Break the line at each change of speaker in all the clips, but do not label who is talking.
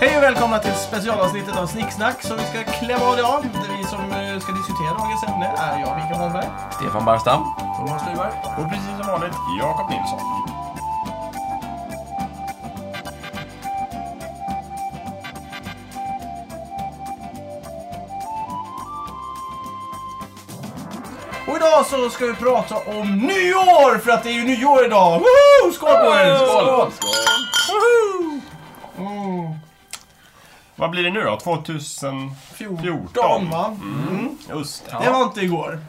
Hej och välkomna till specialavsnittet av Snicksnack som vi ska klämma av det av. Där vi som eh, ska diskutera dagens ämne är jag, Mikael Holmberg.
Stefan Barstam.
Thomas Lyberg.
Och precis som vanligt, Jakob Nilsson.
Och idag så ska vi prata om nyår! För att det är ju nyår idag! Woho! Skål på er!
Skål!
Woho! Mm.
Vad blir det nu då? 2014?
14 va? Mm.
Just det.
Det var inte igår.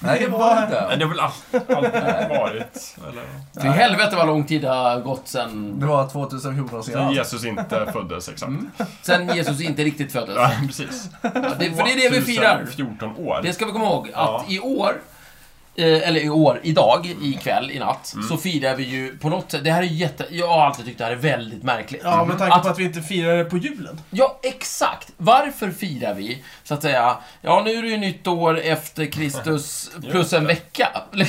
Nej, det var det inte.
Nej, Det har väl all- alltid varit. Eller?
Till helvete vad lång tid det har gått sen,
Det var 2014
Sen
senast.
Jesus inte föddes exakt.
sen Jesus inte riktigt föddes.
Ja, precis.
Ja, det, Mm. för det är det vi firar.
14 år.
Det ska vi komma ihåg, att
Ja.
i år, eh, eller i år, idag, ikväll, i natt, så firar vi ju på något sätt, det här är jätte, jag har alltid tyckt det här är väldigt märkligt.
Ja, med tanke på
Att-
att vi inte firar det på julen.
Ja, exakt! Varför firar vi, så att säga, ja nu är det ju nytt år efter Kristus plus en vecka.
Nej,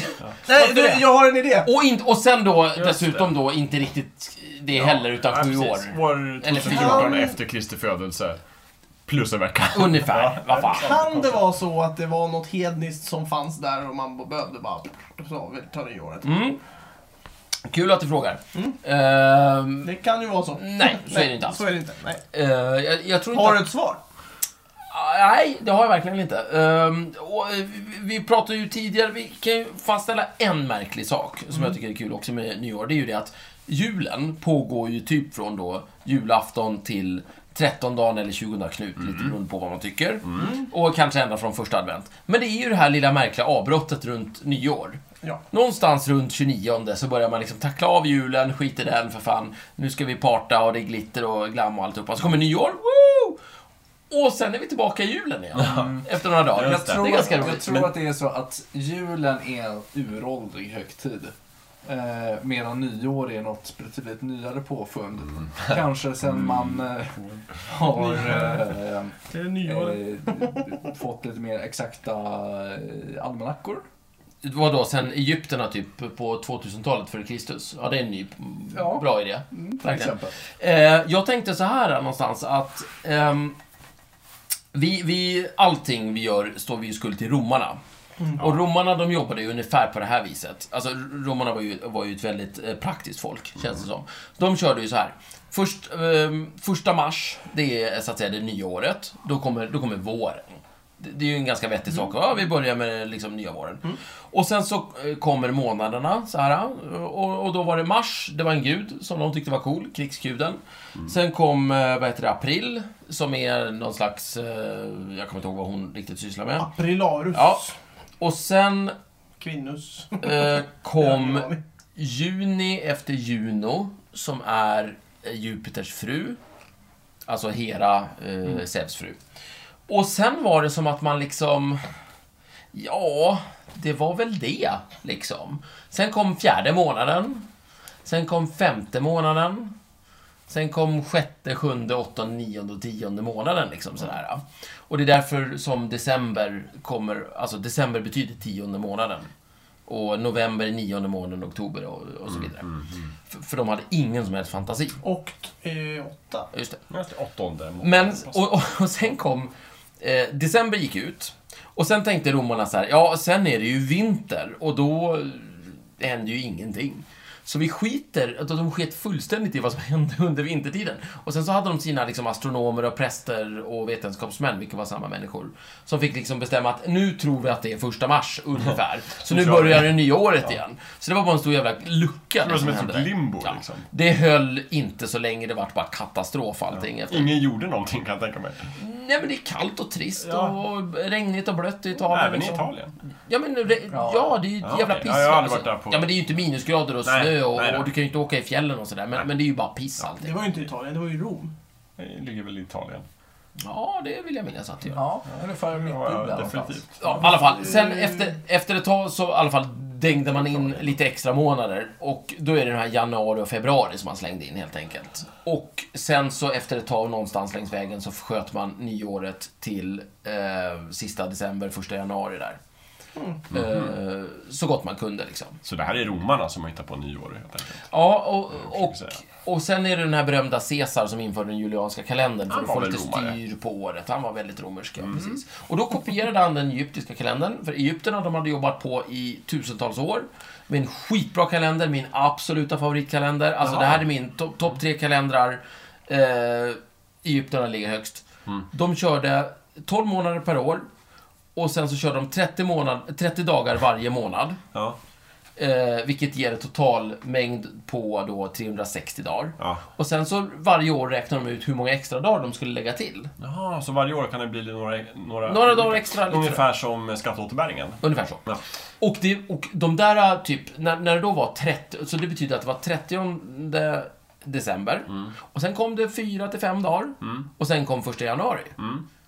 du,
det?
jag har en idé.
Och, in, och sen då dessutom då inte riktigt det heller, utan
Ja,
sju år.
precis. År
Eller
2014
fyra.
efter Kristi födelse. Plus en vecka.
Ungefär, vad fan.
Kan det vara så att det var något hedniskt som fanns där och man behövde bara... Så, vi tar nyåret.
Mm. Kul att du frågar. Ehm,
Det kan ju vara så.
nej, så är det inte alls.
Så är det inte. Nej.
Eh, jag, jag tror inte
Har
att-
du ett svar?
Ah, Nej, det har jag verkligen inte. Ehm, och, eh, vi- vi pratade ju tidigare, vi kan ju fastställa en märklig sak som jag tycker är kul också med nyår. Det är ju det att julen pågår ju typ från då julafton till 13 dagen eller 20 dagar knut, lite beroende på vad man tycker. Och kanske ända från första advent. Men det är ju det här lilla märkliga avbrottet runt nyår.
Ja.
Någonstans runt 29 så börjar man liksom tackla av julen, skit i den för fan. Nu ska vi parta och det är glitter och glam och alltihopa. Så kommer nyår, woo! Och sen är vi tillbaka i julen igen. Efter några dagar.
Just
det.
det.
är ganska roligt.
jag tror att det är så att julen är en uråldrig högtid. Eh, medan nyår är något betydligt nyare påfund. Kanske sen man eh, har eh,
Det är nyåret.
eh, fått lite mer exakta eh, almanackor.
Vadå, sen Egypterna typ på 2000-talet före Kristus? Ja, det är en ny
Ja. Mm.
bra idé.
Till
Verkligen.
exempel.
Eh, jag tänkte så här någonstans att ehm, vi, vi, allting vi gör står vi ju skuld till romarna. Och romarna de jobbade ju ungefär på det här viset. Alltså romarna var ju, var ju ett väldigt eh, praktiskt folk, känns det som. De körde ju så här. Först, ehm, första mars, det är så att säga det nya året. Då kommer, då kommer våren. Det, det är ju en ganska vettig sak. Ja, vi börjar med liksom nya våren. Och sen så eh, kommer månaderna så här. Och, och då var det mars, det var en gud som de tyckte var cool, krigsguden. Sen kom, eh, vad heter det, april, som är någon slags, eh, jag kommer inte ihåg vad hon riktigt sysslar med.
Aprilarus.
Ja. Och sen
Kvinnus.
eh, kom juni efter Juno, som är eh, Jupiters fru. Alltså Hera, eh, Zeus fru. Och sen var det som att man liksom... Ja, det var väl det, liksom. Sen kom fjärde månaden. Sen kom femte månaden. Sen kom sjätte, sjunde, åttonde, nionde och tionde månaden. Liksom, sådär. Och det är därför som december kommer... Alltså, december betyder tionde månaden. Och november är nionde månaden, oktober och, och så vidare. För, för de hade ingen som helst fantasi.
Och eh, åtta.
Just det.
Just det, Åttonde månaden.
Men, och, och, och sen kom... Eh, december gick ut. Och sen tänkte romarna så här, ja, sen är det ju vinter och då eh, händer ju ingenting. Så vi skiter, att de sket fullständigt i vad som hände under vintertiden. Och sen så hade de sina liksom, astronomer och präster och vetenskapsmän, vilka var samma människor, som fick liksom bestämma att nu tror vi att det är första mars, ungefär. Så nu
kör vi.
börjar det nya året igen. Så det var bara en stor jävla lucka. liksom,
Det var som ett
hände
typ
där.
limbo
Ja.
liksom.
Det höll inte så länge, det vart bara katastrof allting. Efter.
Ingen gjorde någonting kan jag tänka mig.
Nej men det är kallt och trist
Ja.
och regnigt och blött i Italien.
Även i
liksom.
Italien.
Ja men det, ja.
Ja.
det är ju
Ja,
jävla
okej.
piss.
Ja, jag har aldrig
alltså.
varit där på-
Ja men det är ju inte minusgrader och
Nej,
snö och,
nej, nej.
och du kan ju inte åka i fjällen och sådär. Men, men det är ju bara piss
Det
allting.
var ju inte Italien, det var ju Rom.
Det ligger väl i Italien.
Ja, det vill jag minnas att det gör.
Ja, ungefär mitt i
Ja,
där någonstans.
definitivt.
Ja, i alla fall. Sen efter, efter ett tag så i alla fall dängde man in lite extra månader. Och då är det den här januari och februari som man slängde in helt enkelt. Och sen så efter ett tag någonstans längs vägen så sköt man nyåret till eh, sista december, första januari där. Eh, så gott man kunde liksom.
Så det här är romarna som har hittat på nyår helt enkelt.
Ja, och, och,
försöker Mm, säga.
och sen är det den här berömda Caesar som införde den julianska kalendern för
Han
att
var
få
väl
lite
romare? Mm.
styr på året. Han var väldigt romersk, ja, precis. Och då kopierade han den egyptiska kalendern, för egyptierna de hade jobbat på i tusentals år. Med en skitbra kalender, min absoluta favoritkalender. Alltså det här är min to- topp tre kalendrar. Eh, egyptierna ligger högst.
Mm.
De körde 12 månader per år. Och sen så körde de 30, månad, 30 dagar varje månad.
Ja.
Eh, vilket ger en total mängd på då 360 dagar.
Ja.
Och sen så varje år räknar de ut hur många extra dagar de skulle lägga till.
Jaha, så varje år kan det bli några... Några,
Några dagar extra. liksom.
Ungefär som skatteåterbäringen.
Ungefär så.
Ja.
Och, det, och de där, eh, typ, när, när det då var 30, så det betyder att det var 30 december. Och sen kom det 4 till 5 dagar. Och sen kom 1 januari.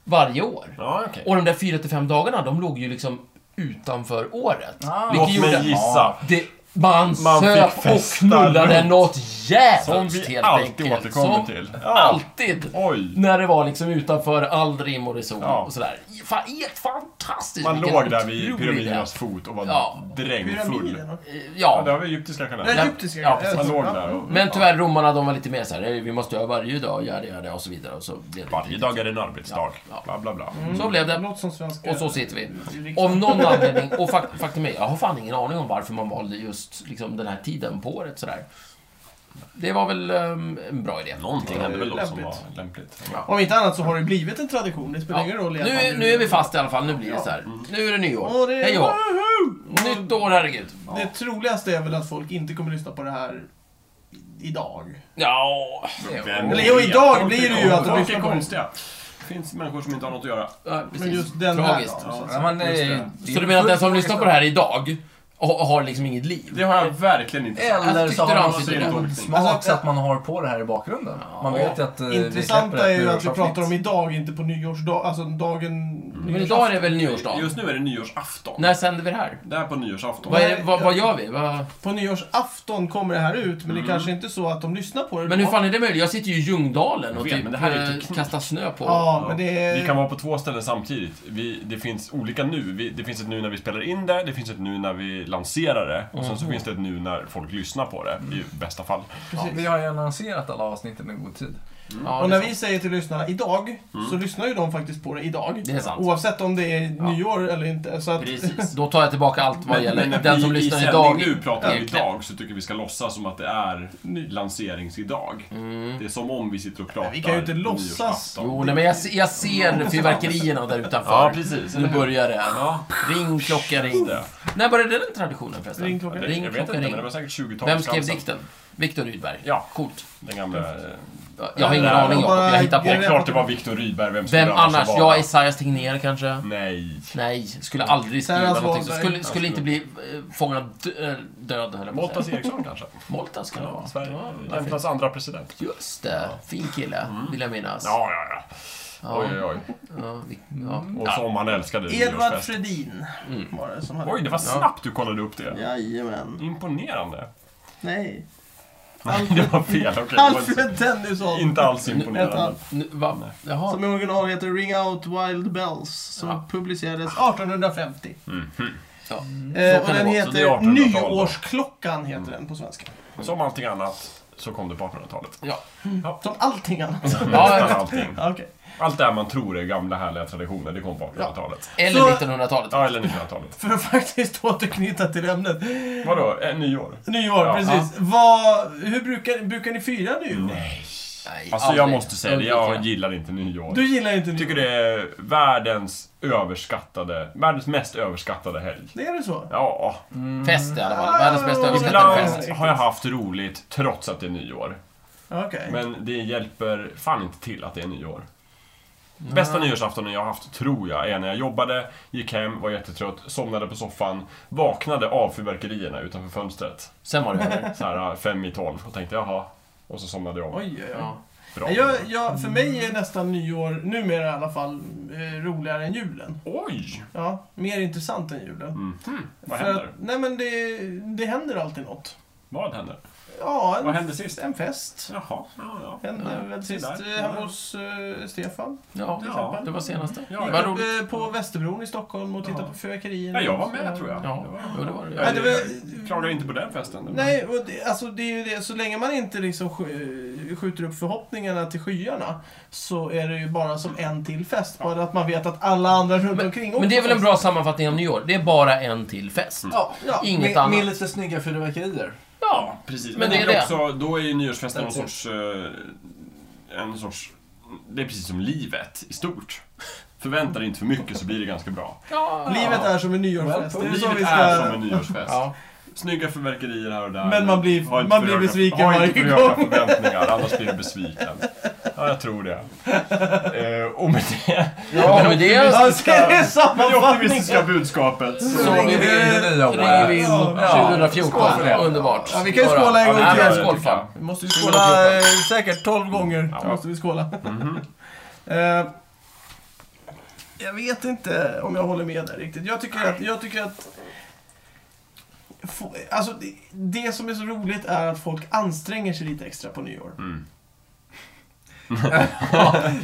Varje år.
Mm. Ja, okej.
Och de där 4 till 5 dagarna, de låg ju liksom utanför året.
Låt mig gissa.
Det, man,
Man fick
söp och
festa
knullade
runt.
något
Som
jävligt
vi
helt
alltid
enkelt.
återkommer
Som
till. Ja.
Alltid.
Oj.
När det var liksom utanför all rim och reson
Ja.
och sådär. Fan, helt fantastiskt.
Man
vilken
låg där vid
otrolig
pyramidernas fot och var
Ja.
drängfull.
Pyramiden och...
idé.
Ja,
Ja.
det har vi egyptiska
Den
kalendern.
egyptiska.
Ja, precis.
Man låg där och...
Men tyvärr, romarna de var lite mer såhär, "Eh, vi måste göra varje dag, göra det, göra det och så vidare. Och så blev det
Varje Mm. dag är det en arbetsdag.
Ja. Mm.
Bla, bla, bla.
Så blev det.
Något som svenska...
Och så sitter vi.
Riksdagen.
Av någon anledning, och fak- faktum är, jag har fan ingen aning om varför man valde just liksom, den här tiden på året sådär. Det var väl ehm, en bra idé.
Någonting hände väl då som var
Lämpligt.
lämpligt.
Om inte annat så har det blivit en tradition. Det spelar
Ja.
ingen roll i alla
Nu,
fall.
är- nu är vi fast i alla fall, nu blir det så här. Nu är det
Och
nyår.
det...
Hej och hå.
Woho!
Nytt år, herregud.
Och Det troligaste är väl att folk inte kommer lyssna på det här i- idag.
Ja, det var-
Vem
Eller jo,
vet?
idag
Folk
blir det
är-
ju att de
Folk
lyssnar
är
på-
konstiga. Det finns människor som inte har något att göra.
ja,
Men
precis.
just den
Tragiskt.
här dagen.
Ja, men, eh, det är
Så du menar att den som
fullt
lyssnar på det här idag ha- har liksom inget liv?
Det har jag verkligen inte sagt.
Alltså,
Eller
tyckte
så har
du
man
han
så
sitter
god
dåligt?
smak
Alltså,
så att man har på det här i bakgrunden. Man vet ju att eh, vi
Intressanta
släpper ett
är ju att vi pratar om
nyårsavsnitt.
idag, inte på nyårsdag, alltså dagen...
Men idag är det väl nyårsdagen?
Just nu är det nyårsafton.
När sänder vi det här?
Det här på nyårsafton.
Vad, är det, vad, vad gör vi? Vad...
På nyårsafton kommer det här ut, men det kanske inte är så att de lyssnar på det
Men hur
då.
fan är det möjligt? Jag sitter ju i Ljungdalen och
Jag vet,
typ
men det här är
eh,
teknik.
kastar snö på.
Ja, men det är...
Vi kan vara på två ställen samtidigt. Vi, det finns olika nu. Vi, det finns ett nu när vi spelar in det, det finns ett nu när vi lanserar det och sen så
Mm.
finns det ett nu när folk lyssnar på det, i bästa fall.
Ja, vi har ju annonserat alla avsnitten i god tid.
Ja,
Och
det
när
är
vi säger till lyssnarna idag, så lyssnar ju de faktiskt på det idag.
Det är sant.
Oavsett om det är nyår eller inte. Så att,
sant. Då tar jag tillbaka allt vad gäller
när
den
vi
som
i
lyssnar
sändning
idag.
nu pratar om
Egentligen.
idag så tycker jag vi ska låtsas som att det är lanserings-idag.
Mm.
Det är som om vi sitter och pratar
vi kan ju inte låtsas.
nyårsafton.
Jo, nej, men jag, se- jag ser fyrverkerierna där utanför.
Mm. Ja, precis.
Nu börjar det.
Ja.
Ring, klocka, ring.
det.
När började den traditionen förresten?
Ring, klocka,
Jag
ring.
vet inte,
klocka,
men
ring.
det var säkert 20-talet.
Vem skrev dikten? Viktor Rydberg.
Ja.
Coolt.
Den gamla... eh,
Jag har ingen
Nej,
aning, Jakob.
bara-
Jag hittar
Det är
vet
på.
klart
inte.
det var Viktor Rydberg, vem skulle
Vem annars?
vara?
Jag, Esaias Tegnér kanske?
Nej.
Nej, skulle aldrig skriva
Sarah
någonting. Så
Svanberg.
skulle, skulle inte bli eh, fångad dö- död, höll jag på att
Moltas
säga.
Eriksson kanske?
Moltas kan det vara.
Sverige.
Ja,
Jämtlands andra president.
Just det. Fin kille, vill jag minnas.
Ja, ja, ja. Oj, oj, oj.
ja, vi, ja.
Och som han älskade
Edvard
nyårsfest.
Fredin var det som hade...
Oj, det var snabbt du kollade upp det.
Jajamän.
Imponerande.
Nej.
Nej, det var fel. Okej, det var
Alfred
inte-
Tennyson.
Inte alls imponerande.
Nu, va? Jaha.
Som i original heter Ring Out Wild Bells. Som
Ja.
publicerades 1850.
Ja.
Eh,
Så
och
kan
den
det
vara. Så det är
heter
1800-tal då.
Nyårsklockan heter den på svenska.
Som allting annat så kom det på 1800-talet.
Ja.
Som allting annat.
Nästan allting.
Ja, Okej.
Allt det här man tror är gamla härliga traditioner, det kom på 1800-talet.
Eller
Så-
1900-talet.
Ja, eller 1900-talet.
För att faktiskt återknyta till ämnet.
Vadå? Eh, Nyår?
Nyår,
Ja.
precis. Vad, hur brukar, brukar ni fira nyår?
Nej,
Alltså jag
aldrig.
måste säga det, jag gillar inte nyår.
Du gillar inte nyår?
Jag tycker det är världens överskattade, världens mest överskattade helg.
Det är det så?
Ja,
Fest i alla fall. Världens bästa överskattade fest.
ibland har jag haft roligt trots att det är nyår.
Okej.
Men det hjälper fan inte till att det är nyår. Bästa nyårsaftonen jag har haft, tror jag, är när jag jobbade, gick hem, var jättetrött, somnade på soffan, vaknade av fyrverkerierna utanför fönstret.
Sen var det över.
Så här äh, fem i tolv och tänkte jaha. Och så somnade jag om.
Oj, oj, oj.
Ja.
Bra.
Nej, Jag, jag, för mig är nästan nyår, numera i alla fall, eh, roligare än julen.
Oj!
Ja, mer intressant än julen.
Mm. Vad
Hmm. För
händer?
Att, nej men det, det händer alltid något.
Vad händer?
Ja,
Vad
en,
hände sist?
en fest.
Jaha, ja, ja.
Hände
Ja,
väl
se
sist
där.
eh, hemma hos eh, Stefan.
Ja,
Ja.
det var senaste.
Ja,
Gick
Vad
upp
roligt.
eh, på Västerbron i Stockholm och tittade på fyrverkerierna.
ja, jag var med tror jag.
Ja, jo, det var det.
Ja, det var-
Jag klagar inte på den festen.
Nej, och det, alltså det är ju det. Så länge man inte liksom sk- skjuter upp förhoppningarna till skyarna så är det ju bara som en till fest. Bara att man vet att alla andra runt omkring
Men det är väl en bra sammanfattning av nyår? Det är bara en till fest.
Ja,
Ja,
Inget
med,
annat.
med lite snygga fyrverkerier.
Ja,
Precis,
Men
men
det
det
är
är
det.
också, då är ju nyårsfesten någon
That's it.
sorts, eh, en sorts... Det är precis som livet i stort. Förvänta dig inte för mycket så blir det ganska bra.
Livet är som en nyårsfest. Det är så
Livet
vi
är som
ska...
en nyårsfest.
Ja.
Snygga förverkerier här och där.
Men man blir-
Ha inte
man
för
blir
höga-
besviken
ha inte
varje
för höga
gång.
förväntningar, annars blir du besviken. Ja, jag tror det. Eh, och med det,
Ja, men det är...
Alltså, det är
med det
sammanfattningen!
optimistiska budskapet så...
Så
ringer vi in det nya
ringer vi in
året.
Ja.
2014.
Skål för det.
Underbart.
Ja, vi kan ju
Bara-
skåla en gång
Ja,
till.
men
Ja, det
Skål
tycker jag.
fan.
Vi måste ju
Skål,
skåla
Lotta.
eh, säkert 12 gånger.
Ja.
Så måste vi skåla.
Mhm.
Mm-hmm. Eh, jag vet inte om jag håller med där riktigt. Jag tycker att... Jag tycker att få- Alltså, det, det som är så roligt är att folk anstränger sig lite extra på nyår.
Mm.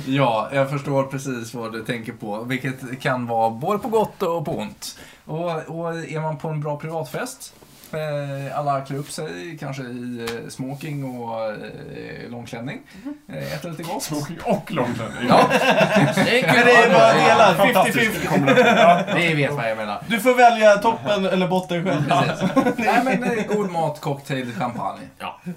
Ja, jag förstår precis vad du tänker på, vilket kan vara både på gott och på ont. Och, och är man på en bra privatfest, eh, alla klär upp sig, kanske i eh, smoking och eh, långklänning,
Mhm.
eh, äter lite gott.
Smoking och långklänning.
Ja. Det är
Men det är
kul.
bara delar,
Fantastisk
50-50.
kombination. Ja.
Det vet vad jag menar.
Du får välja toppen eller botten själv.
Precis. Nej men eh, god mat, cocktail, champagne.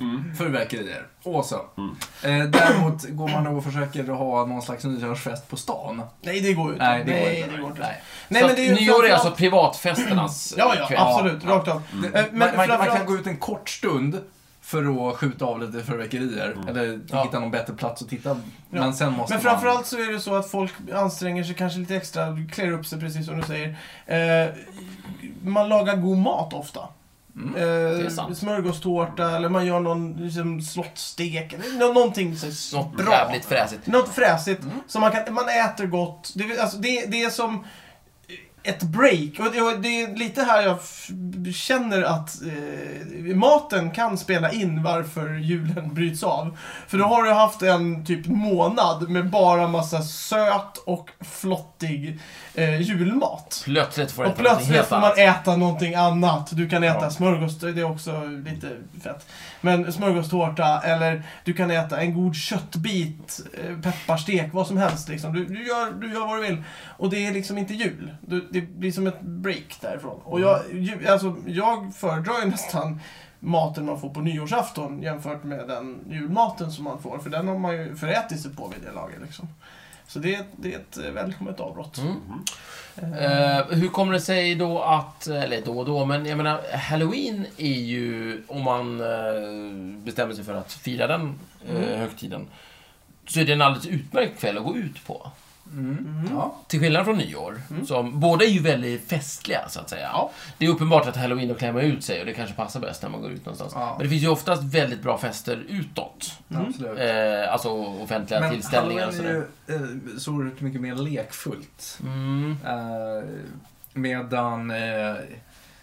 Mm.
Fyrverkerier. Awesome.
Mm.
Eh, däremot går man och försöker ha någon slags nyårsfest på stan.
Nej, det går ju inte.
Nej, det går
Nej,
inte.
det går inte.
Nej.
Nej,
Så
men det är ju
att nyår är
framförallt-
alltså privatfesternas
Ja, ja,
kväll.
absolut. Rakt av.
Det-
Eh, men
man, man, man
framförallt-
kan gå ut en kort stund för att skjuta av lite fyrverkerier. Eller
Ja.
hitta någon bättre plats att titta. Men sen måste
Men framförallt så är det så att folk anstränger sig kanske lite extra, klär upp sig precis som du säger. Eh, man lagar god mat ofta.
Mm,
Eh,
sant.
smörgåstårta eller man gör någon liksom, slottstek. eller nå- Någonting så
Något
bra.
jävligt fräsigt. Mm.
Något fräsigt. Som man, kan, man äter gott. Det, vill- alltså, det, det är som ett break. Och det, och det är lite här jag f- känner att eh, maten kan spela in varför julen bryts av. För då har du haft en typ månad med bara massa söt och flottig eh, julmat.
Plötsligt får
Och
det någonting
plötsligt
helt
får man
annat.
äta någonting annat. Du kan äta
Ja.
smörgås, det är också lite fett. Men smörgåstårta eller du kan äta en god köttbit, eh, pepparstek, vad som helst. Liksom. Du, du, gör, du gör vad du vill. Och det är liksom inte jul. Du, det blir som ett break därifrån. Och jag,
Mm.
ju, alltså, jag föredrar ju nästan maten man får på nyårsafton jämfört med den julmaten som man får. För den har man ju förätit sig på vid det laget. Liksom. Så det, är- det är ett eh, välkommet avbrott.
Mm. Eh, hur kommer det sig då att, eller då och då, men jag menar halloween är ju, om man eh, bestämmer sig för att fira den eh,
Mm.
högtiden, så är det en alldeles utmärkt kväll att gå ut på.
Mm. Ja.
Till skillnad från nyår, som båda är ju väldigt festliga så att säga.
Ja.
Det är uppenbart att halloween då klär man ut sig och det kanske passar bäst när man går ut någonstans.
Ja.
Men det finns ju oftast väldigt bra fester utåt.
Mm.
Absolut.
Eh, alltså offentliga
Men
tillställningar och
halloween är
sådär.
ju eh, så oerhört mycket mer lekfullt.
Mm.
Eh, medan eh,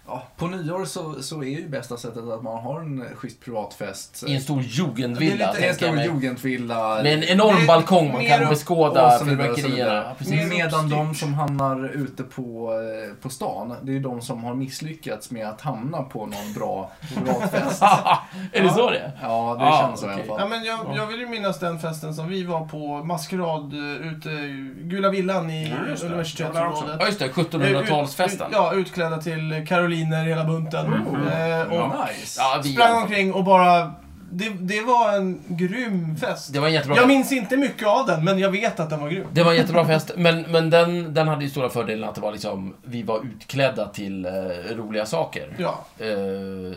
ja, på nyår så, så är ju bästa sättet att man har en schysst privatfest.
I en stor jugendvilla,
Ja, det
Det
tänker
är en
jag
stor
mig.
jugendvilla.
Med en enorm
Det-
balkong man
mer
kan
och-
beskåda
och så vidare, och så vidare.
fyrverkerierna. Precis.
Mer
Medan de
uppstyrt.
som hamnar ute på, eh, på stan, det är ju de som har misslyckats med att hamna på någon bra privatfest.
är det så det är?
Ja, det
Ah,
känns så i alla
okej.
Ja,
fall.
men jag, jag vill ju minnas den festen som vi var på, maskerad, eh, ute i Gula villan i
Ja, just det. Jag var
universitetsområdet.
Ja, just det. 1700-talsfesten.
Ut- ut- Ja, utklädda till karoliner hela bunten. Eh, och
Ja, nice.
Ja, vi alltså.
sprang omkring och bara... Det, det var en grym fest.
Det var en jättebra
Jag minns inte mycket av den, men jag vet att den var grym.
Det var en jättebra fest, men, men den, den hade ju stora fördelen att det var liksom, vi var utklädda till eh, roliga saker.
Ja.
Eh,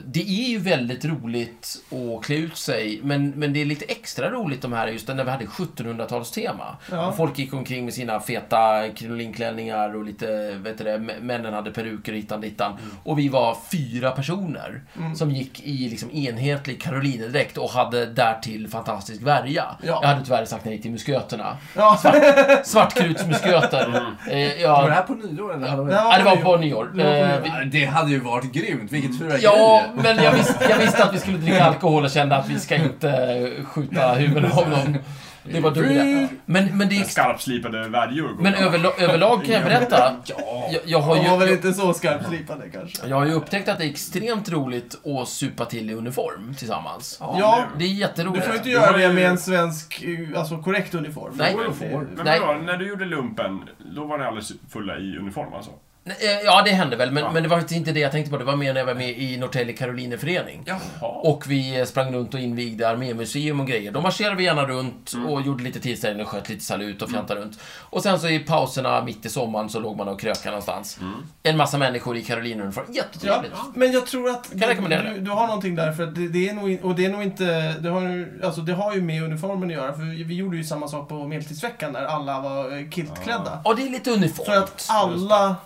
det är ju väldigt roligt att klä ut sig, men, men det är lite extra roligt de här, just när vi hade 1700-talstema.
Ja.
Och Folk gick omkring med sina feta krinolinklädningar och lite, vet du det, mä- männen hade peruker
Mm.
hittan dittan. Och vi var fyra personer som gick i liksom enhetlig direkt och hade därtill fantastisk värja.
Ja.
Jag hade tyvärr sagt nej till musköterna.
Ja,
Svartkrutsmusköter.
Mm.
Eh,
Var det
ja,
här på nyår eller halloween?
det här
ja, det var på
Det
nyår.
var på
Eh,
nyår.
vi- Mm.
Ja, Det hade ju varit grymt, vilket fyrverkeri!
Ja, men jag visste, jag visste att vi skulle dricka alkohol och kände att vi ska inte eh, skjuta huvudet av någon. Det var dumt. det. Men, men det är...
Skarpslipade värjor. går
Men
bra.
överla- överlag kan jag berätta. Jag, jag har
Han var väl
ju...
inte så skarpslipade kanske.
Jag har ju upptäckt att det är extremt roligt att supa till i uniform tillsammans.
Ja,
Det
du
är jätteroligt.
får inte
Du har
göra det
ju-
med en svensk, eh, alltså korrekt uniform.
Nej.
Det-
Men
Nej.
vadå, när du gjorde lumpen, då var ni alldeles fulla i uniform alltså?
Nej, eh, Ja, det hände väl, men,
Ja.
men det var faktiskt inte det jag tänkte på. Det var mer när jag var med i Norrtälje Karolineförening.
Jaha.
Och vi eh, sprang runt och invigde armémuseum och grejer. Då marscherade vi gärna runt och gjorde lite tillställningar, sköt lite salut och fjantade runt. Och sen så i pauserna mitt i sommaren så låg man och krökade någonstans. En massa människor i Karolinuniform.
Ja,
Jättetrevligt.
men jag tror att
jag rekommendera
du, du har någonting där, för att det, det är nog, in- och det är nog inte, det har, ju- alltså det har ju med uniformen att göra, för vi, vi gjorde ju samma sak på Medeltidsveckan när alla var eh, kiltklädda.
Ja, det är lite
För att
uniformt.
alla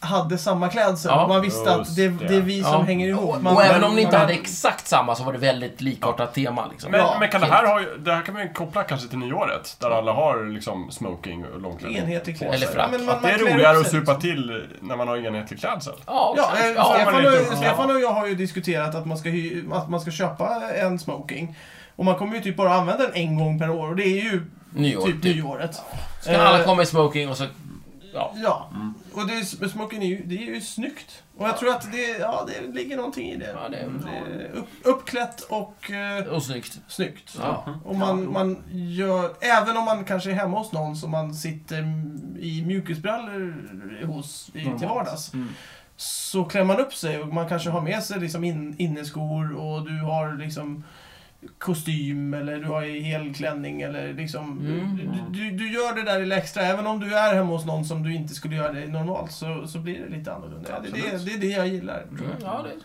hade samma klädsel,
Ja.
och man visste att
Just
det,
det.
det är vi som
Ja.
hänger ihop. Man,
Och även om ni inte
man-
hade exakt samma så var det väldigt likartat tema liksom.
Men,
Ja,
men kan det här, ha, ju- det här kan man ju koppla kanske till nyåret, där alla har liksom smoking och långklänning.
Enhetlig
på
klädsel.
Eller
sig.
frack.
Ja, men man-
Att det är
man klär
roligare
upp
att
sig. liksom.
supa till när man har enhetlig klädsel.
Ja,
Ja,
kanske.
eh,
ja.
man
Stefan,
är
och,
lite-
Stefan och jag har ju diskuterat att man ska, hy, att man ska köpa en smoking. Och man kommer ju typ bara använda den en gång per år och det är ju
Nyår.
typ
typ.
nyåret.
Så kan alla
Eh,
komma i smoking och så... Ja.
Ja, och det är, smoking är ju, det är ju snyggt. Och jag tror att det, ja, det ligger någonting i det.
Ja, det är-
är upp, uppklätt och eh,
Och snyggt.
snyggt.
Ja.
Och man, man gör, även om man kanske är hemma hos någon som man sitter i mjukisbrallor hos i, till
Normalt.
vardags.
Mm.
Så klär man upp sig och man kanske har med sig liksom in, inneskor och du har liksom kostym eller du har i helklänning eller liksom...
Mm.
Du, du, du gör det där lilla extra. Även om du är hemma hos någon som du inte skulle göra det normalt så, så blir det lite annorlunda. Det, det, det är det jag gillar.
Mm, ja, det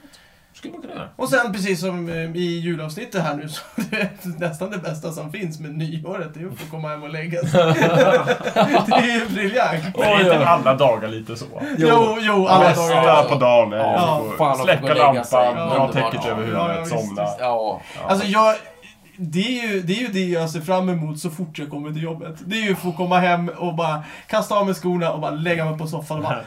skulle man kunna göra.
Och sen precis som eh, i julavsnittet här nu så det är nästan det bästa som finns med nyåret det är att få komma hem och lägga sig. det är ju briljant.
Men är inte alla dagar lite så?
Jo, jo, alla
Bästa
dagar.
dagar.
på dagen är
Ja,
fan,
att få
att få gå
släcka
och lägga sig.
lampan,
Ja,
dra
underbart.
täcket
Ja,
över
ja,
huvudet,
visst,
somna.
visst.
Ja.
Alltså jag... Det är, ju, det är ju det jag ser fram emot så fort jag kommer till jobbet. Det är ju att få komma hem och bara kasta av mig skorna och bara lägga mig på soffan och bara...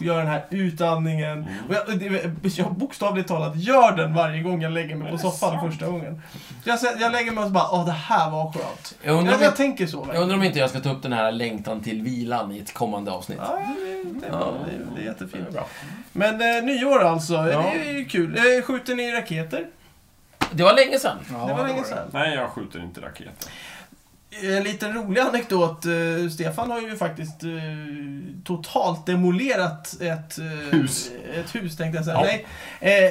Göra den här utandningen.
Mm.
Och jag, det- jag bokstavligt talat gör den varje gång jag lägger mig på soffan första gången. Jag, ser- jag lägger mig och så bara, åh det här var skönt.
Jag undrar
Jag,
om
jag
inte-
tänker så.
jag undrar om inte jag ska ta upp den här längtan till vilan i ett kommande avsnitt.
Ja, det, det, är bra. det, är- det är jättefint.
Bra.
Men eh, nyår alltså,
Ja.
det är ju kul. Eh, skjuter ni raketer?
Det var länge sedan.
Ja,
det var länge sedan.
Nej, jag skjuter inte raketer.
En liten rolig anekdot. eh, Stefan har ju faktiskt eh, totalt demolerat ett eh,
Hus.
Ett hus tänkte jag säga.
Ja.
Nej,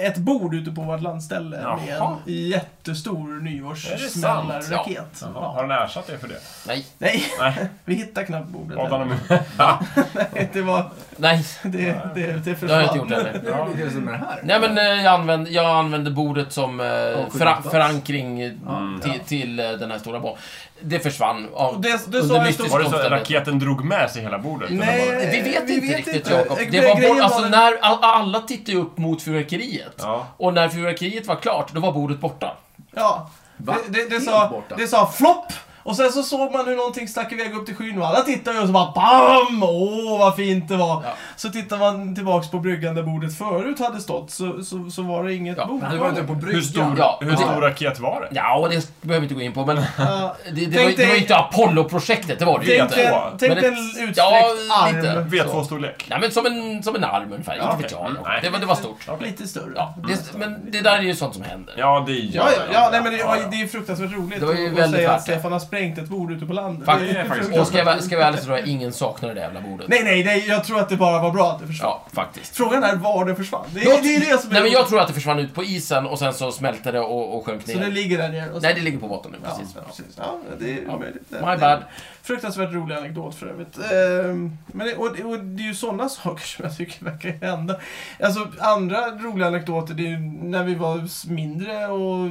eh, ett bord ute på vårt landställe med
Jaha.
en jättestor
Är det sant?
nyårssmällarraket.
Har
Ja.
den ersatt det för det?
Nej.
Nej,
Nej,
vi hittar knappt bordet.
Adam och
heller. Nej, det, var,
Nej,
det, det, det
det har jag inte
försvann.
gjort heller.
Hur lyckades du med det här?
Nej men eh, jag använde, jag använde bordet som eh, föra,
skyddsplats.
förankring eh,
Mm.
till, till eh, den här stora bomben. Det försvann av...
Och det- det
under
sa jag
mystiska
stod-
Var det så att
omständigheter.
raketen drog med sig hela bordet? Eller var det-
Nej,
Vi vet
vi
inte
vet
riktigt
inte. Eh,
Jakob. Det
Grejen
var
var
bort, alltså
den-
när all- alla tittade ju upp mot fyrverkeriet.
Ja.
Och när fyrverkeriet var klart, då var bordet borta.
Ja.
Va?
Det, det, det,
Helt
sa,
borta.
det sa flopp! Och sen så såg man hur någonting stack iväg upp till skyn och alla tittade och så bara BAM! Åh, vad fint det var!
Ja.
Så tittar man tillbaks på bryggan där bordet förut hade stått så, så, så var det inget
Ja,
bord.
Du var
typ-
inte på bryggan.
Hur stor,
Ja.
hur stor raket var det?
Ja, och det behöver vi inte gå in på, men det,
Ja.
det,
Tänk
var, ju- det
dig-
var ju inte Apollo-projektet, det var det ju
Tänk
inte.
dig
Men
en- tänk dig en
ett-
utsträckt
ja,
arm.
lite.
V2-storlek?
Nej men som en, som en arm ungefär,
Ja,
inte vet
okej.
jag.
Mm, nej.
det, var, det var stort.
Lite större.
Ja, det, men det där är ju sånt som händer.
Ja, det är
Ja, ja, ja, nej, men det,
ja, ja.
det är fruktansvärt roligt
Det var ju
att- att
väldigt
säga
vackert.
att Stefan har sprängt ett bord ute på landet.
Faktiskt.
Det är-
Det är faktiskt
Och ska jag, vara- ska jag vara ärlig så tror jag ingen saknar det jävla bordet.
Nej, nej, nej, jag tror att det bara var bra att det försvann.
Ja, faktiskt.
Frågan är var det försvann. Det,
Jag-
är det är det som är
Nej men
roligt.
jag tror att det försvann ut på isen och sen så smälte det och, och sjönk
Så det
ner.
ligger där nere? Och så-
Nej, det ligger på botten nu, precis.
Ja, precis. Ja, det är
Ja.
möjligt. Det-
My
det-
bad.
Fruktansvärt rolig anekdot för övrigt. Ehm, Men det, och, det- och det är ju sådana saker som jag tycker verkar hända. Alltså andra roliga anekdoter, det är ju när vi var mindre och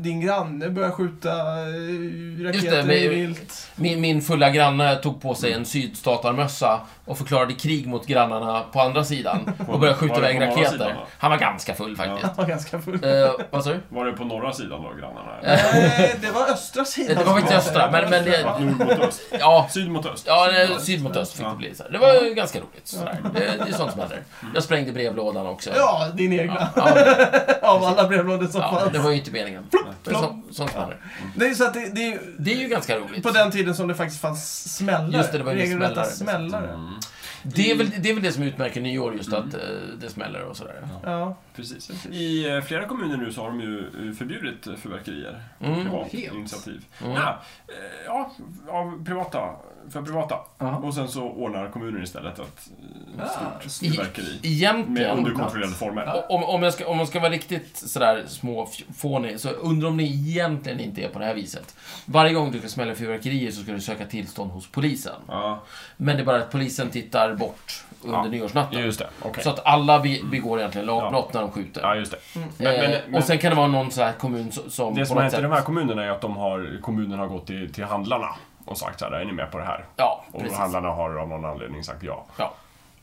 din granne började skjuta eh, raketer
men-
i vilt.
Min, min fulla granne tog på sig en sydstatarmössa och förklarade krig mot grannarna på andra sidan och började skjuta
var det
iväg
på norra sidan
raketer.
då?
Han var ganska full faktiskt.
Han var ganska full.
Eh, vad sa du?
Var det på norra sidan då, grannarna?
Eh,
Nej, det var östra sidan.
Det var inte östra, men- men det-
Att nord mot öst?
Ja,
Syd mot öst?
ja det, syd mot öst fick
Ja.
det bli. Så här. Det var ju ganska roligt. Så där. Det, det är sånt som händer. Jag sprängde brevlådan också.
Ja, din egna.
ja,
Av alla brevlådor som
ja, det
fanns.
var ju inte meningen. Det är så, sånt som händer.
Det är ju så att det, det är ju
Det är ju ganska roligt.
på den tiden som det faktiskt fanns smällare.
Just det, det var ju
Regelrätta
smällare. liksom.
smällare.
Mm,
Det, är väl, det är väl det som utmärker nyår, just att eh, det smäller och sådär.
Ja.
precis. I eh, flera kommuner nu så har de ju eh, förbjudit eh, fyrverkerier.
Mm.
Privat
Helt.
initiativ.
Mm.
Ja, eh, ja, av privata. För privata.
Jaha.
Och sen så ordnar kommunen istället ett eh,
Ah,
stort
I-
fyrverkeri. Med
Egentligen...
underkontrollerade former.
O- Om, om, jag ska, om jag ska vara riktigt sådär småfånig, så undrar om det egentligen inte är på det här viset. Varje gång du ska smälla fyrverkerier så ska du söka tillstånd hos polisen.
Ja,
Men det är bara att polisen tittar bort under
Ja,
nyårsnatten.
just det. Okej.
Så att alla be- begår egentligen lagbrott när de skjuter.
Ja, just det. Men,
Eh,
men, men,
och sen kan det vara någon sån här kommun so- som...
det som
på
har
något
hänt i
sätt-
de här kommunerna är att de har, kommunen har gått till, till handlarna och sagt så här, är ni med på det här?
Ja,
Och
precis.
handlarna har av någon anledning sagt ja.
Ja,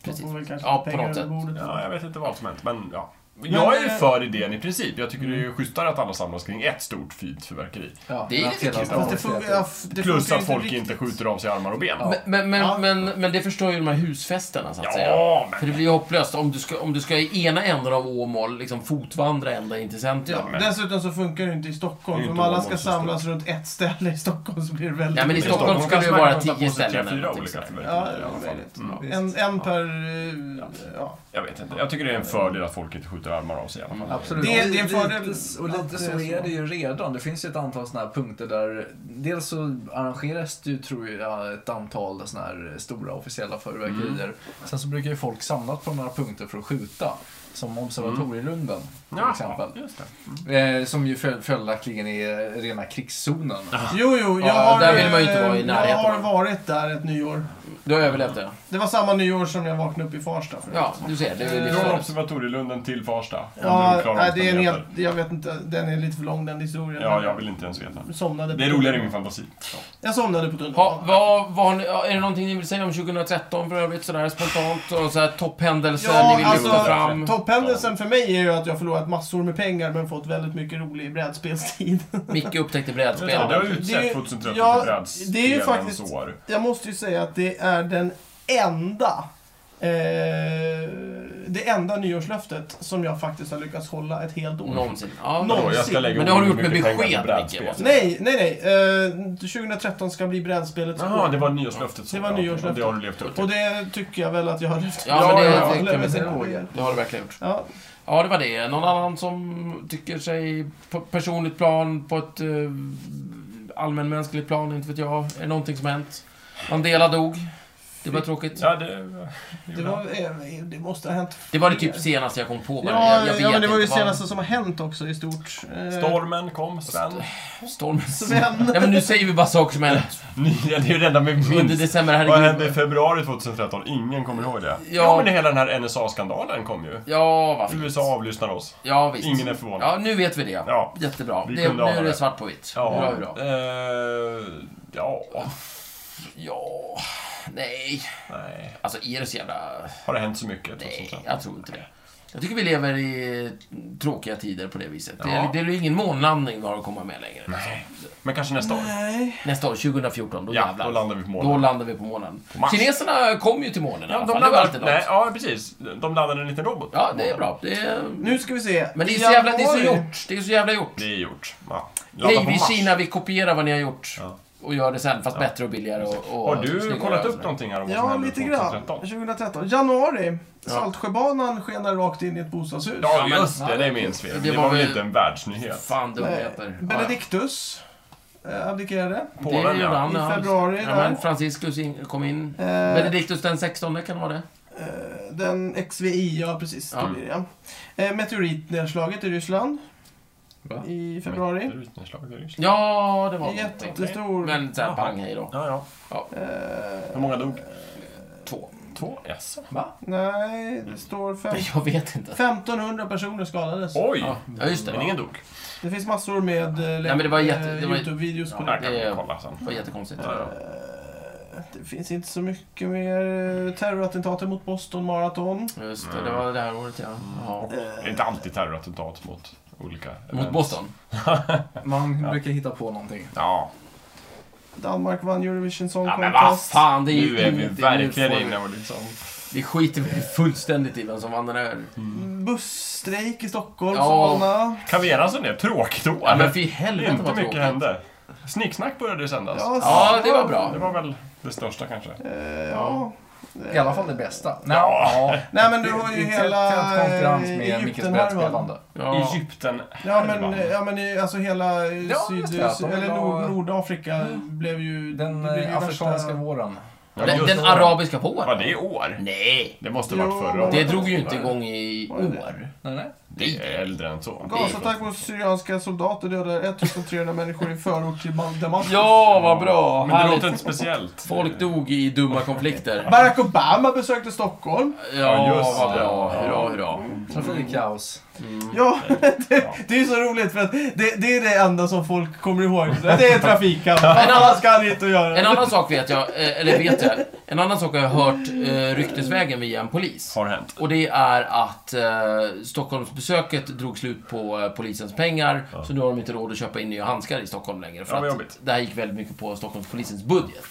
De får väl
precis.
kanske
Ja, på
pengar
något sätt.
över bordet.
Ja, jag vet inte vad som hänt, men Mm. ja. Jag är ju
eh,
för idén i princip. Jag tycker det är schysstare att alla samlas kring ett stort fint fyrverkeri.
Ja,
Det är
men
lite
hela
kul.
dagen
Fast det
ser jag
funkar,
till.
ja, f- det
Plus
funkar
att folk
riktigt.
inte skjuter av sig armar och ben.
Ja.
Men, men,
Ja.
men, men det förstör ju de här husfesterna, så att säga.
Ja,
alltså, För
men...
det blir ju hopplöst om du ska, om du ska i ena änden av Åmål liksom fotvandra ända in till centrum.
Ja, dessutom så funkar det inte i Stockholm. För
Det är ju
om
inte
alla ska
Åmål så
samlas runt ett ställe i Stockholm så blir det väldigt...
Ja, men i
mycket.
Stockholm ska det ju
kanske man
vara
kan ta
tio
på sig tre,
ställen eller
fyra
någonting
olika
sådär.
Ja,
fyrverkerier
det
i alla
är
fall.
möjligt.
Mm.
En, en per... eh, Ja.
Jag vet inte. Jag tycker det är en fördel att folk inte skjuter armar av sig i alla fall.
Absolut.
Det är- det är en
Och
fördel
lite- Och
att det
lite
är
så
så.
är det ju redan. Det finns ju ett antal sådana här punkter där dels så arrangeras det ju tror jag ett antal sådana här stora officiella fyrverkerier.
Mm.
Sen så brukar ju folk samlas på några punkter för att skjuta. Som observatorielunden
Mm.
till
Ja,
exempel.
just det.
Eh, som ju följ- följaktligen är rena krigszonen.
Jo, jo, jag
Ja,
har,
där vill man ju inte vara i
eh, Jag
närheten
har
av.
varit där ett nyår.
Du överlevde jag.
Det var samma nyår som jag vaknade upp i Farsta. För
Ja, du ser. Det är ju
Från
livsfarligt.
Observatorielunden till Farsta. Under
ja
oklara
nej, det är en
omständigheter.
helt, jag vet inte, den är lite för lång den historien.
Ja, jag vill inte ens veta.
Jag somnade på
Det är roligare i min fantasi.
Jag somnade på
Ha,
tunnelbanan.
vad, vad har ni, är det någonting ni vill säga om 2013 för övrigt sådär spontant? Och sådär topphändelser
Ja,
ni vill lyfta
alltså,
fram?
Topphändelsen för mig är ju att jag förlorat massor med pengar men fått väldigt mycket rolig brädspelstid.
Micke upptäckte
Det
brädspel.
har
Det är ju-
utsett 2013
ja,
till brädspelens
det är ju faktiskt-
år.
Jag måste ju säga att det är den enda eh, det enda nyårslöftet som jag faktiskt har lyckats hålla ett helt år.
Någonsin. Ja,
Mm. Någonsin.
Vadå, jag ska lägga
Men det har du
oerhört
gjort med
mycket pengar på
besked,
brädspel.
Micke.
Nej, nej, nej. Eh, 2013 ska bli brädspelets
Jaha,
år.
det var nyårslöftet. så.
Det var
Ja,
nyårslöftet.
Det har du levt upp
Och
till.
det tycker jag väl att jag har lyft.
Ja, men det,
Ja, ja,
det,
ja.
kan vi säga.
Roger.
Det har du verkligen gjort.
Ja,
Ja, det var det. Någon annan som tycker sig på personligt plan, på ett eh, allmänmänskligt plan, inte vet jag. Är det någonting som hänt? Mandela dog. Det var tråkigt.
Ja, det...
det, var, eh, det måste ha hänt.
Det var det typ senaste jag kom på. bara.
Ja,
vet
ja, men det var ju
inte vad-
senaste som har hänt också i stort. Eh,
Stormen kom, Sven.
Stormen.
Sven.
Nej, men nu säger vi bara saker som hänt
Ny- Det är ju det enda vi
under
minns.
december.
Vad hände i
Herregud.
februari 2013? Ingen kommer ihåg det.
Ja.
Ja, men hela den här NSA-skandalen kom ju.
Ja, vad fint.
USA avlyssnar oss.
Ja, visst.
Ingen är förvånad.
Ja, nu vet vi det.
Ja.
Jättebra.
Vi
Det,
kunde
nu
ana
är det
det.
svart på vitt.
Ja.
Bra, bra.
Eh, ja.
Ja, nej.
Nej.
Alltså, är det så jävla...
Har det hänt så mycket?
Nej,
2013?
jag tror inte det. Jag tycker vi lever i tråkiga tider på det viset. Det,
Ja.
är, det är ju ingen månlandning vi har att komma med längre.
Nej. Men kanske nästa år?
Nej.
Nästa år, 2014, då
Ja,
jävlar.
då landar vi på
Då
månen.
landar vi på månen.
På Mars.
Kineserna kom ju till månen i
Ja,
alla
de
fall. Det var alltid
landade,
något.
nej, ja, precis. De landade en liten robot.
Ja, det är bra. Det är...
Nu ska vi se.
Men det är
I
så jävla, det är så
januari-
gjort. Det är så jävla gjort.
Det är gjort. Ja.
Hej,
på
vi
Mars.
Kina, vi kopierar vad ni har gjort.
Ja.
Och gör det sen, fast bättre och billigare och, och
Har du
snyggare
kollat
och
upp
sådär.
någonting här om vad som
Ja,
hände
lite grann.
2013?
2013. Januari.
Ja.
Saltsjöbanan skenar rakt in i ett bostadshus.
Ja,
men-
just det. Det minns vi.
Det
Det,
var
var väl
väl-
inte en världsnyhet.
Fan,
Nej.
dumheter. Ja, ja.
Benediktus eh, abdikerade.
Det
Polen,
gjorde
ja.
han.
I
ja.
februari
Ja,
där.
men Franciscus in, kom in.
Eh,
Benediktus den 16 kan det vara det.
eh, Den XVI, ja precis.
Ja.
Det blir det. Eh, Meteoritnedslaget i Ryssland.
Va?
I februari.
Meteoritnedslag i Ryssland.
Ja, det var någonting.
Jättestor.
Men såhär
Jaha.
pang hej då.
Ja, ja. Hur
Eh,
många dog?
Två.
Två? Jaså?
nej, det står fem,
Jag vet inte.
1500 personer skadades.
Oj!
Ja, ja, just det.
Men ingen dog.
Det finns massor med eh, län-
men det var jätte-
eh,
det var-
Youtube-videos på
Ja,
det.
jag kan
det-
kolla sen.
Det var jättekonstigt.
Ja, ja.
Det finns inte så mycket mer eh, terrorattentater mot Boston Marathon. Eh,
Just det, det var det här året ja.
Mm.
ja.
Det är inte alltid terrorattentat mot olika...
Mot
event.
Boston?
Man brukar hitta på någonting.
Ja.
Danmark vann Eurovision Song
ja, men vad
Contest.
Fan, det är ju
Nu är vi
inte-
verkligen
nu får vi-
inne och liksom...
Det skiter vi fullständigt i vem som vann den här.
Busstrejk i Stockholm
Ja.
som alla.
Kan vi enas om det? Tråkigt år.
Ja, men fy
Det
helvete
är inte
vad
mycket
tråkigt.
hände. Snicksnack började ju sändas.
Ja,
Ja, det var
Det
bra.
var väl det största kanske.
Eh, ja.
I alla fall det bästa. Nej,
Ja.
Nej Eh. men du
det-
har ju
det är
hela eh,
tät konkurrens med Mickes
Egypten-härvan.
brädspelande.
Ja.
Egypten.
Ja men, eh, ja, men eh, alltså hela eh,
Ja,
syd,
just det, att de
eller
vill
Nord-
ha-
Nordafrika blev ju...
Den
det blev ju
eh, afrikanska
värsta-
våren.
Ja,
Den,
just
den
det.
arabiska
Ja,
våren?
det är år.
Nej!
Det måste
Jo,
varit förra
men-
Det
året.
drog ju inte igång i
Var det det?
år.
Nej, nej.
Det är äldre än så.
Gasattack mot syrianska soldater dödar 1300 människor i förort till Bal- Damaskus.
Ja, vad bra!
Men det låter
Härligt.
inte speciellt.
Folk dog i dumma konflikter.
Barack Obama besökte Stockholm.
Ja,
just
vad
det.
bra. Hurra, hurra.
Trafikkaos.
Ja, det, det är ju så roligt för att det, det är det enda som folk kommer ihåg. Så Det är trafikkaos. Vad fan ska han hit och
En
göra?
annan sak vet jag, eh, eller vet jag, en annan sak har jag hört eh, ryktesvägen via en polis.
Har hänt.
Och det är att eh, Stockholmsbesöket drog slut på eh, polisens pengar, så nu har de inte råd att köpa in nya handskar i Stockholm längre. För
Ja, vad
att
jobbigt. Mm,
det här gick väldigt mycket på Stockholmspolisens budget.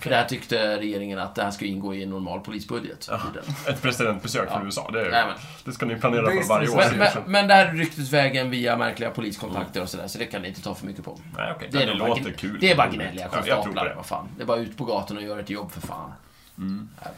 För det här tyckte regeringen att det här skulle ingå i en normal polisbudget. tydligen.
Ett presidentbesök från
Ja.
USA. Det,
Nej,
är,
men.
det ska ni planera för
Business
varje år.
Men, men, men det här är ryktesvägen via märkliga poliskontakter och sådär, så det kan ni inte ta för mycket på.
Nej, okej.
Det, är
det
nog bara-
låter kul.
Det är bara gnälliga
Ja, jag tror på
konstaplar,
det. Mm.
vad fan. Det är bara ut på gatorna och gör ett jobb för fan.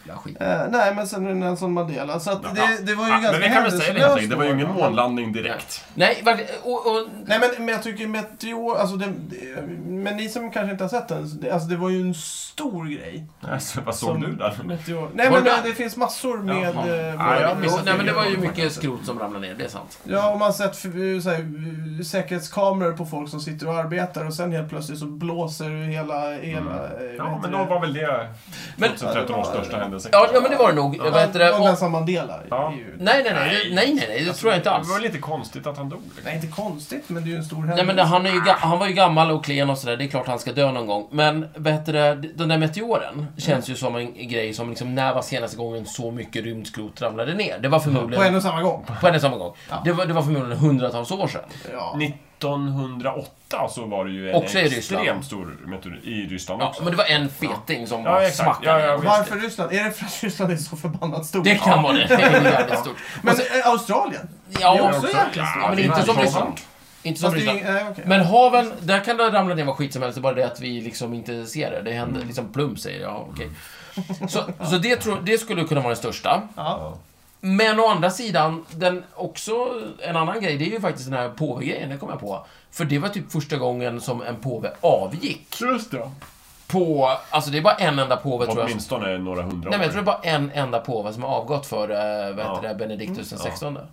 Jävla skit.
Eh, nej, men sen är det Nelson Mandela. Så att
Ja.
det, det var ju
Ja,
ganska
men vi kan väl säga det helt enkelt. Det var ju ingen
händelselöst år.
månlandning direkt.
Nej, verkligen. Och, och,
Nej men, men jag tycker meteor, alltså det, det, men ni som kanske inte har sett den, det, alltså det var ju en stor grej.
Alltså, vad såg
Som-
du där?
Meteor. Nej
Var
men
det
det,
där?
finns massor med...
Jaha.
eh,
Ja, jag
våra-
missade
nej, men det var ju mycket skrot som ramlade ner, det är sant.
Ja, och man har sett för- eh, så här, säkerhetskameror på folk som sitter och arbetar och sen helt plötsligt så blåser hela... hela eh, vad
Ja,
heter
men
det?
då var väl det
Men-
2013 års största händelse.
Ja, ja men det var det nog. Vad heter det?
Och
Och,
Nelson Mandela.
Ja.
är ju-
nej, nej, nej, nej, nej, nej, det tror jag inte alls.
Alltså, Det var väl lite konstigt att han dog? liksom.
Nej, inte konstigt, men det är ju en stor händelse.
Nej men det- han, är ju, ga- han var ju gammal och klen och sådär, det är klart han ska dö någon gång. Men bättre, den där meteoren känns ju som en grej som liksom, när var senaste gången så mycket rymdskrot ramlade ner? Det var
På en
förmodligen...
och samma gång.
På en och samma gång. Det, var, det var förmodligen hundratals år sedan.
Ja.
1908 så var det ju en
Också i Ryssland.
extremt stor meteorit i Ryssland
Ja,
också.
men det var en feting som
Ja,
bara
exakt.
smackade
Ja, ja,
ner.
visst.
Varför Ryssland? Är det för att Ryssland är så förbannat stort?
Det kan vara det. Det är jävligt stort.
Men eh, Australien?
Ja,
det är
också
också jäkla stort.
Ja, men inte som Ryssland. Inte som
Fast det är
Ryssland.
ju- nej, okej.
Men haven, där kan det ramla ner vad skit som helst, det är bara det att vi liksom inte ser det. Det händer liksom plum, säger jag. Okej. Så, så det, tror, det skulle kunna vara den största.
Ja.
Men å andra sidan, den också, en annan grej, det är ju faktiskt den här påvegrejen, det kom jag på. För det var typ första gången som en påve avgick.
Just det.
På, alltså det är bara en enda påve tror jag. Nej
Åtminstone några hundra
men jag
år.
tror det är bara en enda påve som har avgått för, eh, vad heter
Ja.
det, Benediktus den
Ja.
sextonde.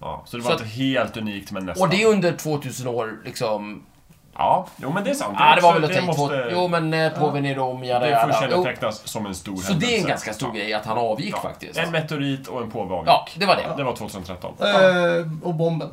Ja, så det
Så
var inte helt unikt, men nästan.
Och det är under 2000 år liksom.
Ja, jo men det är sant.
Ja, ah, det var väl
också-
att tänka
måste-
på. Jo men eh, påven i Rom, jada
Det får
jada. Jo,
kännetecknas som en stor
Så
händelse.
det är en ganska stor grej att han avgick
Ja.
faktiskt.
En meteorit och en påve avgick.
Ja, det var det.
Det var 2013.
Eh, och bomben.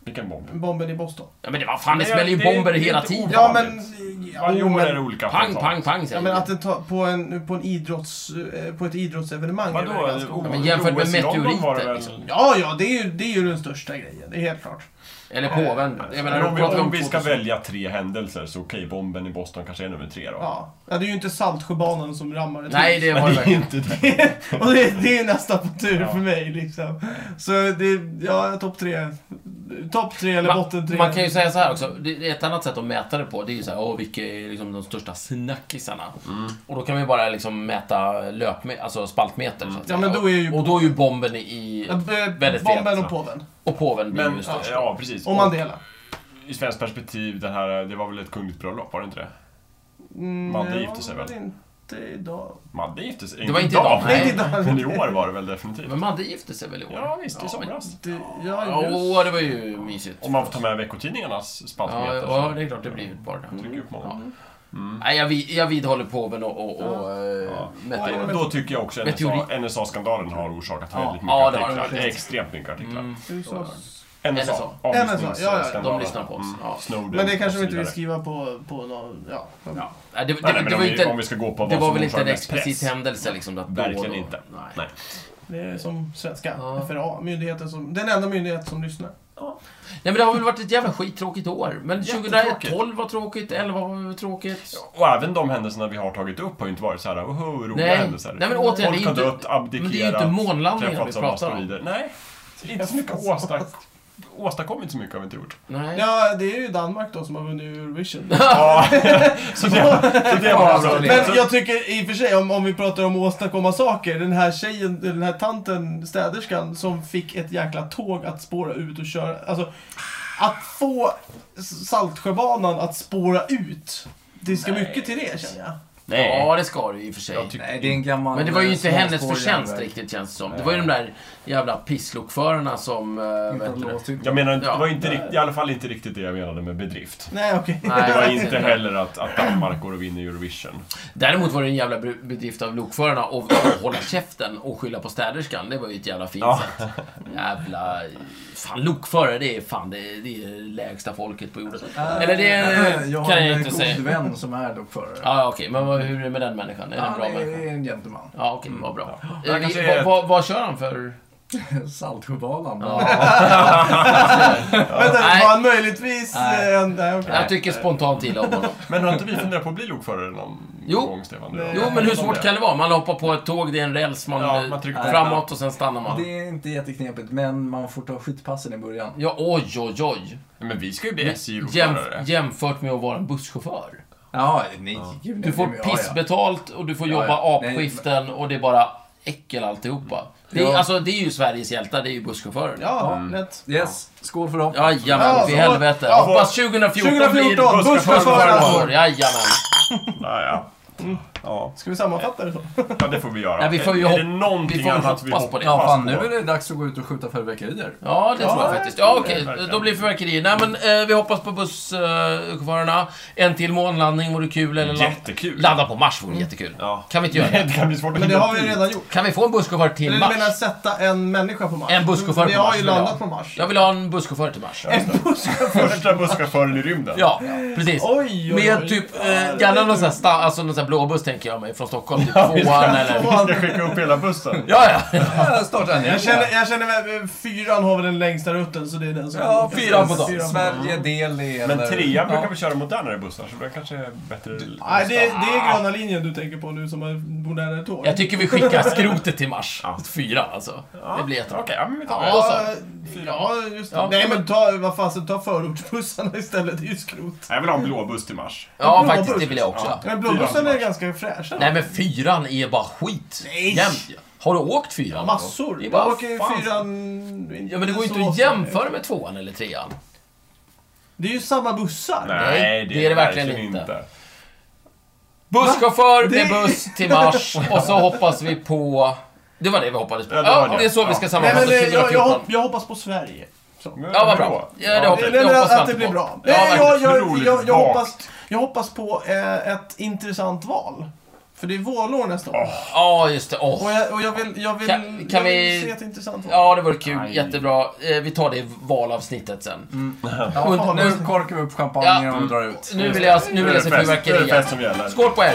Vilken bomb.
Bomben i Boston.
Ja, men det var fan, det
Det-
smäller ju
det-
bomber
det är
hela
inte
tiden.
ovanligt.
Ja men...
Varje
jo,
år
men-
är det olika
Pang,
attentat.
pang, pang
Ja,
säger
men
vi.
att det tar på, en, på, en idrotts, eh, på ett idrottsevenemang
Vadå?
är väl ganska
O-
Ja,
ovanligt.
men jämfört med
OS i London var det
meteoriter
väl-
liksom.
Ja, ja, det är, ju, det är ju den största grejen. Det är helt klart.
Eller påven. Jag menar,
Men
de
om, vi,
pratar
om
om
vi
2000.
ska välja tre händelser så okej, bomben i Boston kanske är nummer tre då.
Ja. ja, det är ju inte Saltsjöbanan som rammar ett
Nej,
hus.
det var
Men
det
det är
verkligen.
inte det.
Och det, det är nästa på tur
Ja.
för mig liksom. Så det, ja, topp tre. Topp tre eller botten
Man,
tre.
man kan ju säga så här också, det det är ett annat sätt att mäta det på. Det är ju så här, åh, vilka är liksom de största snackisarna?
Mm.
Och då kan vi bara liksom mäta löpme- alltså spaltmeter. Så att
Mm. Ja,
säga.
men då är ju-
Och då är ju bomben i...
Ja, b-
Väldigt fet,
Bomben
så.
och påven.
Och påven blir
Men,
ju störst.
ja precis.
Och Mandela.
I svenskt perspektiv, det, här, det var väl ett kungligt bröllop, var det inte det?
Mm,
Madde
det
gifte sig
var
väl?
Inte idag.
Madde gifte sig.
Det var inte idag, nej.
Nej, inte idag.
Men i år var det väl definitivt.
Men Madde gifte sig väl i år?
Ja visst, i
men-
somras.
Det, ja,
Ja,
just.
åh, det var ju mysigt.
Om man får ta med veckotidningarnas
Ja,
spaltmeter.
ja, det är klart det blir bara det.
så trycker upp många.
Mm.
Nej, jag, vid, jag vidhåller påven och, och, och eh,
Ja.
meteor.
Då tycker jag också
Meteorit.
NSA-skandalen har orsakat
Ja.
väldigt mycket
Ja, det har den
artiklar.
faktiskt. Mm.
Extremt mycket artiklar.
USAs
NSA.
NSA.
NSA, ja, ja,
de lyssnar på oss.
Mm.
Ja.
Snowden
Men det kanske vi
och så
inte vill
vidare.
skriva på, på någon... Ja.
Ja.
Nej, det, det,
Nej,
det,
men
var
om,
ju
vi, om
inte,
vi ska gå på vad
det var
som
väl inte en
orsakar mest
explicit
press.
händelse liksom? Att då och
Verkligen
då.
inte.
Nej.
Nej.
Det är som svenska
Ja.
FRA, myndigheten som... Den enda myndighet som lyssnar.
Nej men det har väl varit ett jävla skittråkigt år. Men
Jättetråkigt.
2012 var tråkigt, 11 var tråkigt.
Och även de händelserna vi har tagit upp har ju inte varit så här, oho, roliga
Nej.
händelser.
Nej men återigen, det är
Folk
ju
har
inte,
dött, abdikerat,
men det är ju inte månlandningen vi
träffats av
pratar om.
asteroider. Nej, inte så mycket åstad, åstadkommit så mycket har vi inte gjort.
Nej.
Ja, det är ju Danmark då som har vunnit Eurovision.
Ja, så det, så det var alltså...
Men jag tycker i och för sig, om, om vi pratar om att åstadkomma saker, den här tjejen, den här tanten, städerskan, som fick ett jäkla tåg att spåra ut och köra. Alltså, att få Saltsjöbanan att spåra ut, det ska
Nej.
mycket till det känner jag.
Ja, det ska det ju i och för sig.
Jag tycker-
Nej, det är en gammal
Men det var ju inte
eh,
hennes
smalspårig
förtjänst
järnväg.
riktigt känns det som. Det var ju de där jävla pisslokförarna som... eh,
Inte
vad heter det?
låtit.
Jag menar, det
Ja.
var inte riktigt, i alla fall inte riktigt det jag menade med bedrift.
Nej, okej.
Nej,
Det var
verkligen
inte heller att, att Danmark går och vinner Eurovision.
Däremot var det en jävla bedrift av lokförarna att att hålla käften och skylla på städerskan. Det var ju ett jävla fint
Ja.
sätt. Jävla... Fan, lokförare, det är fan det är, det är lägsta folket på jorden. Eller det
Eh, jag
kan jag
har en
inte säga.
god vän som är lokförare.
Ja, ah, okej. Men vad, hur är det med den människan? Är det en
Han
bra
är
människa?
en gentleman.
Ja, okej. Vad bra.
Mm. Ja,
Eh,
kanske
vi-
är-
vad, vad, vad kör han för...
Saltsjöbanan.
Vänta,
Nej.
var han möjligtvis...
Nej.
eh, Nej, okej.
Jag tycker spontant illa om honom.
Men har inte vi funderat på att bli lokförare någon
Jo.
gång, Stefan? Du?
Nej.
Jo, men hur svårt kan det vara? Man hoppar på ett tåg, det är en räls, man, eh,
Ja, man trycker på
framåt och sen stannar man.
Det är inte jätteknepigt, men man får ta skitpassen i början.
Ja, oj, oj, oj.
Men vi ska ju bli SJ-lokförare.
Jämf- jämfört med att vara en busschaufför.
Ja, nej. gud, nej,
Du får
men ja, ja.
pissbetalt och du får
Ja,
jobba
ja.
apskiften och det är bara äckel alltihopa. Det är,
Ja.
alltså, det är ju Sveriges hjältar, det är ju busschaufförer.
Ja, lätt.
Yes, skål för dem.
Jajamän,
Ja,
för
så-
helvete.
ja.
Hoppas 2014,
2014,
blir
busschaufförernas år.
busschaufförernas år. Jajamän.
Ja, ja. Ja.
Ska vi sammanfatta det så?
ja, det får vi göra.
Mm. Ja, vi får ju
är
hop-
det någonting
vi får
annat vi
hoppas på det.
Ja, fan, nu är det dags att gå ut och skjuta fyrverkerier.
Ja, det
Ja,
tror jag
det
faktiskt.
tror
Ja,
jag
okej.
verkligen.
Då blir det fyrverkerier. Nej, men eh, vi hoppas på busschaufförerna. en till månlandning vore kul. Eller la-
Jättekul.
Landa på Mars
Mm.
vore jättekul.
Ja.
Kan vi inte göra det?
Det kan bli svårt att
Men det
hinna
har vi
till.
redan gjort.
Kan vi få en busschaufför till
Eller du
Mars?
menar sätta en människa på Mars?
En busschaufför
Vi
på Mars
har ju
vill jag
landat
ha.
på Mars.
Jag vill ha en busschaufför till Mars.
En busschaufför?
Första busschauffören i rymden.
Ja, precis.
Oj, oj, oj.
Med typ, eh, gärna någon sån här, sta- alltså någon sån här blåbuss tänker jag mig, från Stockholm. Typ tvåan eller...
Vi ska skicka upp hela bussen.
Ja, ja.
Ja, starta en ny.
Jag känner, jag känner väl, eh, fyran har väl den längsta rutten så det är den som...
Ja, fyran på dagen.
Fyran
Sverige, Delhi eller...
Men trean brukar
Ja.
vi köra modernare bussar, så det kanske är bättre...
Nej, det, det är gröna linjen du tänker på nu som har modernare tåg.
Jag tycker vi skickar skrotet till Mars.
Ja.
Fyra alltså. Det blir jättebra.
Okej, ja, men vi tar det.
Ja.
Ja, ja, just det.
Ja.
Nej men ta, vad fan, så ta förortsbussarna istället, det är ju skrot.
Jag vill ha en blå buss till Mars.
Ja,
En
faktiskt.
blåbuss.
Det vill jag också.
Men
Fyran
blåbussarna är
mars.
ganska fräscha.
Nej, men fyran är bara skit.
Nej.
Jämt. Har du åkt fyran? någon gång?
Massor.
Det är
Jag
bara,
åker ju
fan.
fyran...
Ja, men det går ju
så
inte att
ofta.
jämföra med tvåan eller trean.
Det är ju samma bussar.
Nej, det är det verkligen inte. Busschaufför med
Det-
buss till Mars och så hoppas vi på... Det var det vi hoppades på.
Ja, det var
Ja,
det.
det är så vi
Ja.
ska
Nej,
sammanfatta
men, eh, jag, jag,
2014.
hopp, jag hoppas på Sverige.
Men
Ja, vad
vadå?
bra. Ja, det hoppas,
Nej,
det
men att,
hoppas
att
jag
det
inte
blir
på.
bra.
Ja,
Nej, jag, jag,
Otroligt
jag, jag,
vagt.
hoppas, jag hoppas på eh, ett intressant val. För det är vårlår nästa år.
Ja, just det. Åh.
Och, jag, och jag vill, jag vill,
Kan- kan
jag vill
vi-
se ett intressant val.
Ja, det vore kul.
Aj. Mm,
Jättebra. Eh, Vi tar det i valavsnittet sen.
Ja,
Und-
fan, nu korkar vi upp champagnen
Ja.
och drar ut.
Nu vill jag, nu vill
Nu är det
jag se
fest. Nu är det
fyrverkerier.
fest som gäller.
Skål på er!